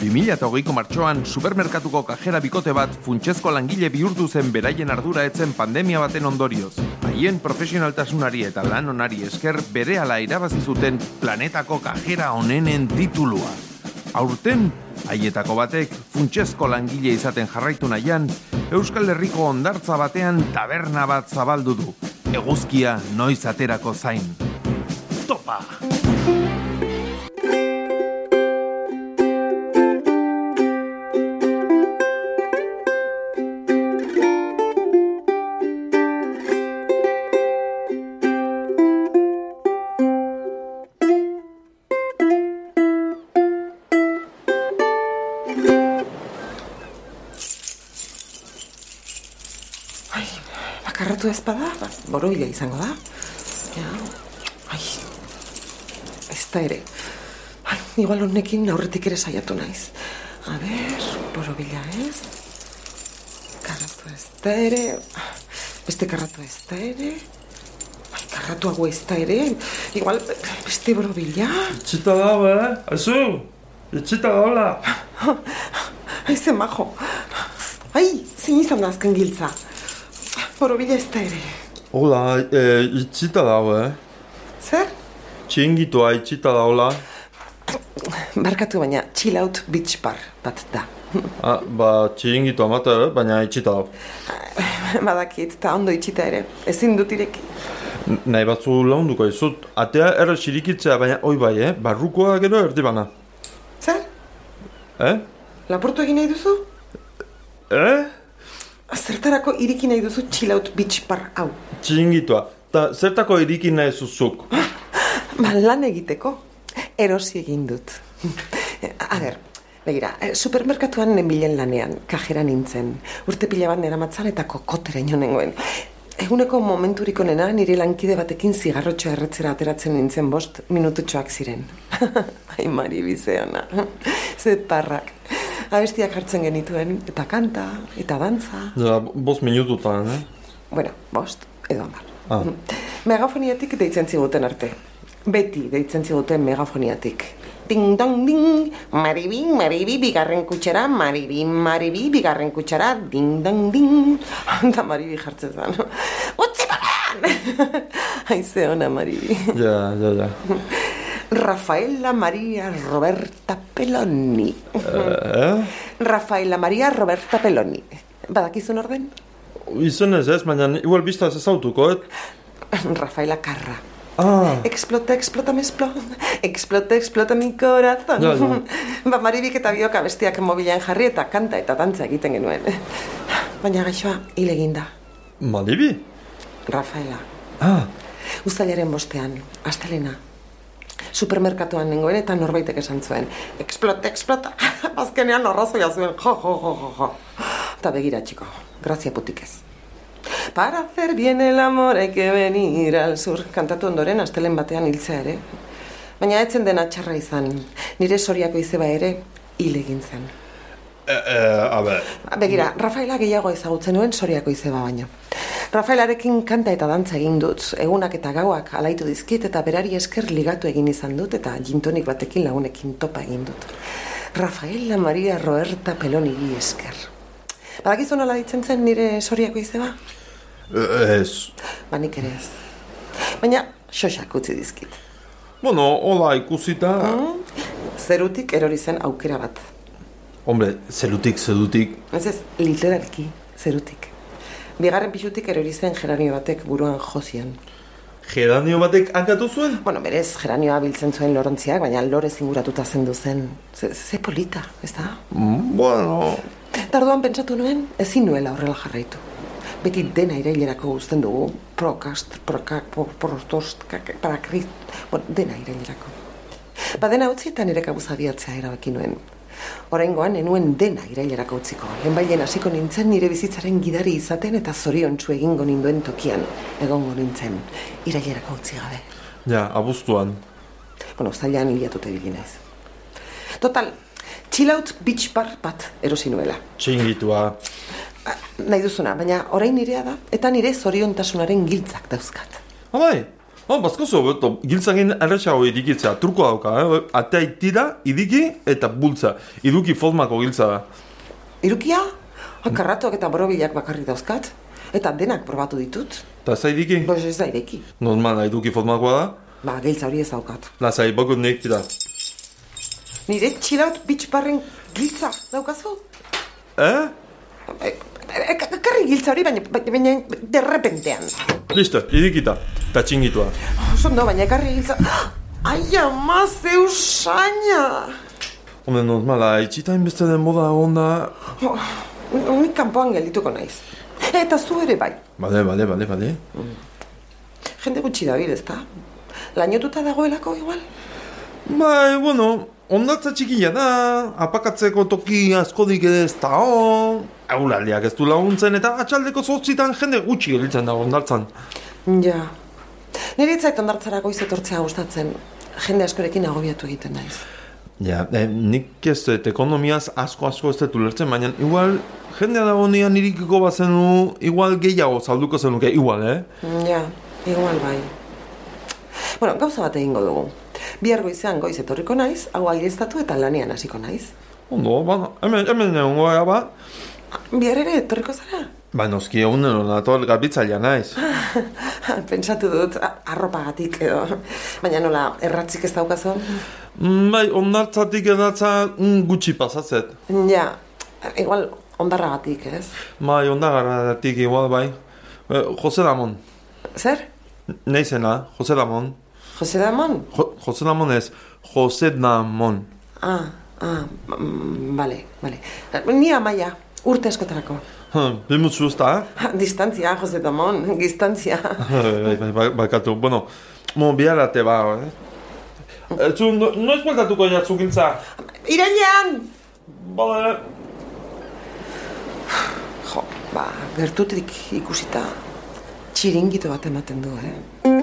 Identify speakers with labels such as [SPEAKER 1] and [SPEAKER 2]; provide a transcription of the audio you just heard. [SPEAKER 1] 2008ko martxoan supermerkatuko kajera bikote bat funtsezko langile bihurtu zen beraien ardura etzen pandemia baten ondorioz. Haien profesionaltasunari eta lan onari esker berehala irabazi zuten planetako kajera onenen titulua. Aurten, haietako batek funtsezko langile izaten jarraitu nahian, Euskal Herriko ondartza batean taberna bat zabaldu du. Eguzkia noiz aterako zain. Topa!
[SPEAKER 2] Bakarratu ez bada, ba, borobila izango da. Ja. Ai, ez da ere. Ai, igual honekin aurretik ere saiatu naiz. A ber, borobila ez. Karratu ez da ere. Beste karratu ez da ere. Ai, karratu hau ez da ere. Igual beste borobila.
[SPEAKER 3] Itxita dago, eh? Aizu! Itxita daola!
[SPEAKER 2] Ai, ze majo. Ai, zein izan da azken giltza. Borobila ez da ere.
[SPEAKER 3] Hola, e, itxita dago, eh?
[SPEAKER 2] Zer?
[SPEAKER 3] Txingitua itxita daola.
[SPEAKER 2] Barkatu baina chill out beach bar bat da.
[SPEAKER 3] Ah, ba, txingitua mate, eh? baina itxita dago.
[SPEAKER 2] Badakit, eta ondo itxita ere. Ezin dut ireki.
[SPEAKER 3] N- Nahi batzu launduko izut. Atea erre xirikitzea, baina oi bai, eh? Barrukoa gero erdi bana.
[SPEAKER 2] Zer?
[SPEAKER 3] Eh?
[SPEAKER 2] Laportu egin nahi duzu?
[SPEAKER 3] Eh?
[SPEAKER 2] Zertarako iriki nahi duzu chill out beach bar hau?
[SPEAKER 3] Txingitua. Ta zertako iriki nahi zuzuk?
[SPEAKER 2] Ba, lan egiteko. Erosi egin dut. A ber, begira, eh, supermerkatuan nenbilen lanean, kajera nintzen. Urte pila bat neramatzan eta kokotera nengoen. Eguneko momenturiko nena nire lankide batekin zigarrotxo erretzera ateratzen nintzen bost minututxoak ziren. Ai, Mari Bizeona. Zetarrak. Abestiak hartzen genituen, eta kanta, eta dantza.
[SPEAKER 3] Ja, bost minututan, eh?
[SPEAKER 2] Bueno, bost, edo hamar.
[SPEAKER 3] Ah.
[SPEAKER 2] Megafoniatik deitzen ziguten arte. Beti deitzen ziguten megafoniatik. Ding dong ding, maribi, maribi, bigarren kutsera, maribi, maribi, bigarren kutsera, ding dong ding. Eta maribi jartzen zen. Utzi pagan! Aize ona maribi.
[SPEAKER 3] Ja, ja, ja.
[SPEAKER 2] Rafaela Maria Roberta Peloni.
[SPEAKER 3] Eh?
[SPEAKER 2] Rafaela Maria Roberta Peloni. Badakizun orden?
[SPEAKER 3] Izenez ez, baina igual biztaz ezautuko, eh?
[SPEAKER 2] Rafaela Karra.
[SPEAKER 3] Ah,
[SPEAKER 2] Explota, explota, me explota, explota, explota mi corazón.
[SPEAKER 3] Ja, ja.
[SPEAKER 2] Ba, maribik eta biok abestiak mobilean jarri eta kanta eta dantza egiten genuen. Baina gaixoa, hil eginda,
[SPEAKER 3] malibi?
[SPEAKER 2] Rafaela.
[SPEAKER 3] Ah,
[SPEAKER 2] Uztailaren bostean, astelena. Supermerkatuan nengoen eta norbaitek esan zuen. Explota, explota. Azkenean horrazoia zuen. Jo, jo, jo, jo, jo. Eta begira, txiko. Grazia putik ez. Para hacer bien el amor hay que venir al sur. Kantatu ondoren astelen batean hiltzea ere. Baina etzen dena txarra izan. Nire soriako izeba ere hil egin zen.
[SPEAKER 3] Eh, eh, a ver.
[SPEAKER 2] Ah, Begira, Rafaela gehiago ezagutzen nuen soriako izeba baino. Rafaelarekin kanta eta dantza egin dut, egunak eta gauak alaitu dizkit eta berari esker ligatu egin izan dut eta jintonik batekin lagunekin topa egin dut. Rafaela Maria Roberta Pelonigi esker. Badakizu nola ditzen zen nire soriako izeba?
[SPEAKER 3] Eh, Ez.
[SPEAKER 2] Ba nik ere ez. Baina, xoxak utzi dizkit.
[SPEAKER 3] Bueno, hola ikusita.
[SPEAKER 2] Zerutik erori zen aukera bat.
[SPEAKER 3] Hombre, zerutik, zerutik.
[SPEAKER 2] Ez ez, literalki, zerutik. Bigarren pixutik erori zen geranio batek buruan jozion.
[SPEAKER 3] Geranio batek hankatu zuen?
[SPEAKER 2] Bueno, berez, geranioa biltzen zuen lorontziak, baina lorez inguratuta zendu zen. Ze, ze polita, ez da?
[SPEAKER 3] Mm, Bueno,
[SPEAKER 2] Tarduan pentsatu nuen, ezin nuela horrela jarraitu. Beti dena irailerako uzten dugu, prokast, prokak, por- portost, kak- parakrit, bueno, dena irailerako. Ba dena utzi eta nire kabuza biatzea erabaki nuen. Oraingoan enuen dena irailerako utziko. Lehenbailen hasiko nintzen nire bizitzaren gidari izaten eta zoriontsu egingo ninduen tokian. Egongo nintzen, irailerako utzi gabe.
[SPEAKER 3] ja, abuztuan.
[SPEAKER 2] Bueno, zailan liatute ibili naiz. Total, chill out beach bar bat erosi nuela.
[SPEAKER 3] Txingitua.
[SPEAKER 2] Ah, Nahi duzuna, baina orain nirea da, eta nire zoriontasunaren giltzak dauzkat.
[SPEAKER 3] Abai, Oh, bazkozu, beto, giltzagin erretxago irikitzea, truko dauka, eh? Atea itira, idiki eta bultza. Iduki formako giltza da.
[SPEAKER 2] Irukia, hankarratuak eta borobilak bakarri dauzkat, eta denak probatu ditut,
[SPEAKER 3] Eta ez da idiki?
[SPEAKER 2] boz ez da ireki.
[SPEAKER 3] Normala, iduki formakoa da.
[SPEAKER 2] Ba, giltza hori ez daukat.
[SPEAKER 3] Lazai, bakut nik tira.
[SPEAKER 2] Nire txilaut bitx barren giltza daukazu?
[SPEAKER 3] Eh?
[SPEAKER 2] E, e, e- Ekarri giltza hori, baina, baina, baina derrepentean.
[SPEAKER 3] Listo, idikita. Eta txingitua.
[SPEAKER 2] Oso no, baina ekarri giltza... Ai, ama, zeu saina!
[SPEAKER 3] Hombre, normala, itxita inbeste denbora onda...
[SPEAKER 2] Oh, Unik kanpoan geldituko naiz. Eta zu ere bai,
[SPEAKER 3] Bale, bale, bale, bale.
[SPEAKER 2] jende gutxi dabil, ezta? Lainotuta dagoelako igual?
[SPEAKER 3] Bai, bueno, ondatza txikia da, apakatzeko toki askodik ere ez da hon. Eulaldiak ez du laguntzen eta atxaldeko zortzitan jende gutxi gelditzen da ondartzan.
[SPEAKER 2] Ja. Nire itzait ondartzara goiz etortzea gustatzen. Jende askorekin agobiatu egiten naiz.
[SPEAKER 3] Ja, eh, nik ez dut ekonomiaz asko asko ez dut ulertzen, baina igual jendea da honean irikiko bazenu, igual gehiago salduko zenuke, igual, eh?
[SPEAKER 2] Ja, igual bai. Bueno, gauza bat egingo dugu. Bihar goizean goiz etorriko naiz, hau aireztatu eta lanean hasiko naiz.
[SPEAKER 3] Ondo, ba, hemen, hemen egon goa, ba.
[SPEAKER 2] Bihar ere etorriko zara?
[SPEAKER 3] Ba, noski egun nator garbitzailea naiz.
[SPEAKER 2] Pentsatu dut, a- arropagatik edo. Baina nola, erratzik ez daukazon?
[SPEAKER 3] Mm, bai, ondartzatik edatza mm, gutxi pasatzet.
[SPEAKER 2] Ja, igual ondarragatik, ez?
[SPEAKER 3] Bai, ondagarratik igual, bai. Eh, Jose Ramon.
[SPEAKER 2] Zer?
[SPEAKER 3] Neizena, Jose Ramon.
[SPEAKER 2] Jose Damon?
[SPEAKER 3] Jo, Jose Ramon ez, Jose Damon.
[SPEAKER 2] Ah, ah, mm, bale, bale. Ni amaia, urte askotarako.
[SPEAKER 3] Hm, Bimutsu usta,
[SPEAKER 2] Ha, Distantzia, Jose Damon, distantzia.
[SPEAKER 3] eh? bai, bai, bakatu, bueno, mo biharate ba, eh? Etzun, no, noiz bueltatuko jatzukintza?
[SPEAKER 2] Irailean!
[SPEAKER 3] Bale,
[SPEAKER 2] Jo, ba, gertutik ikusita txiringito bat ematen du, eh?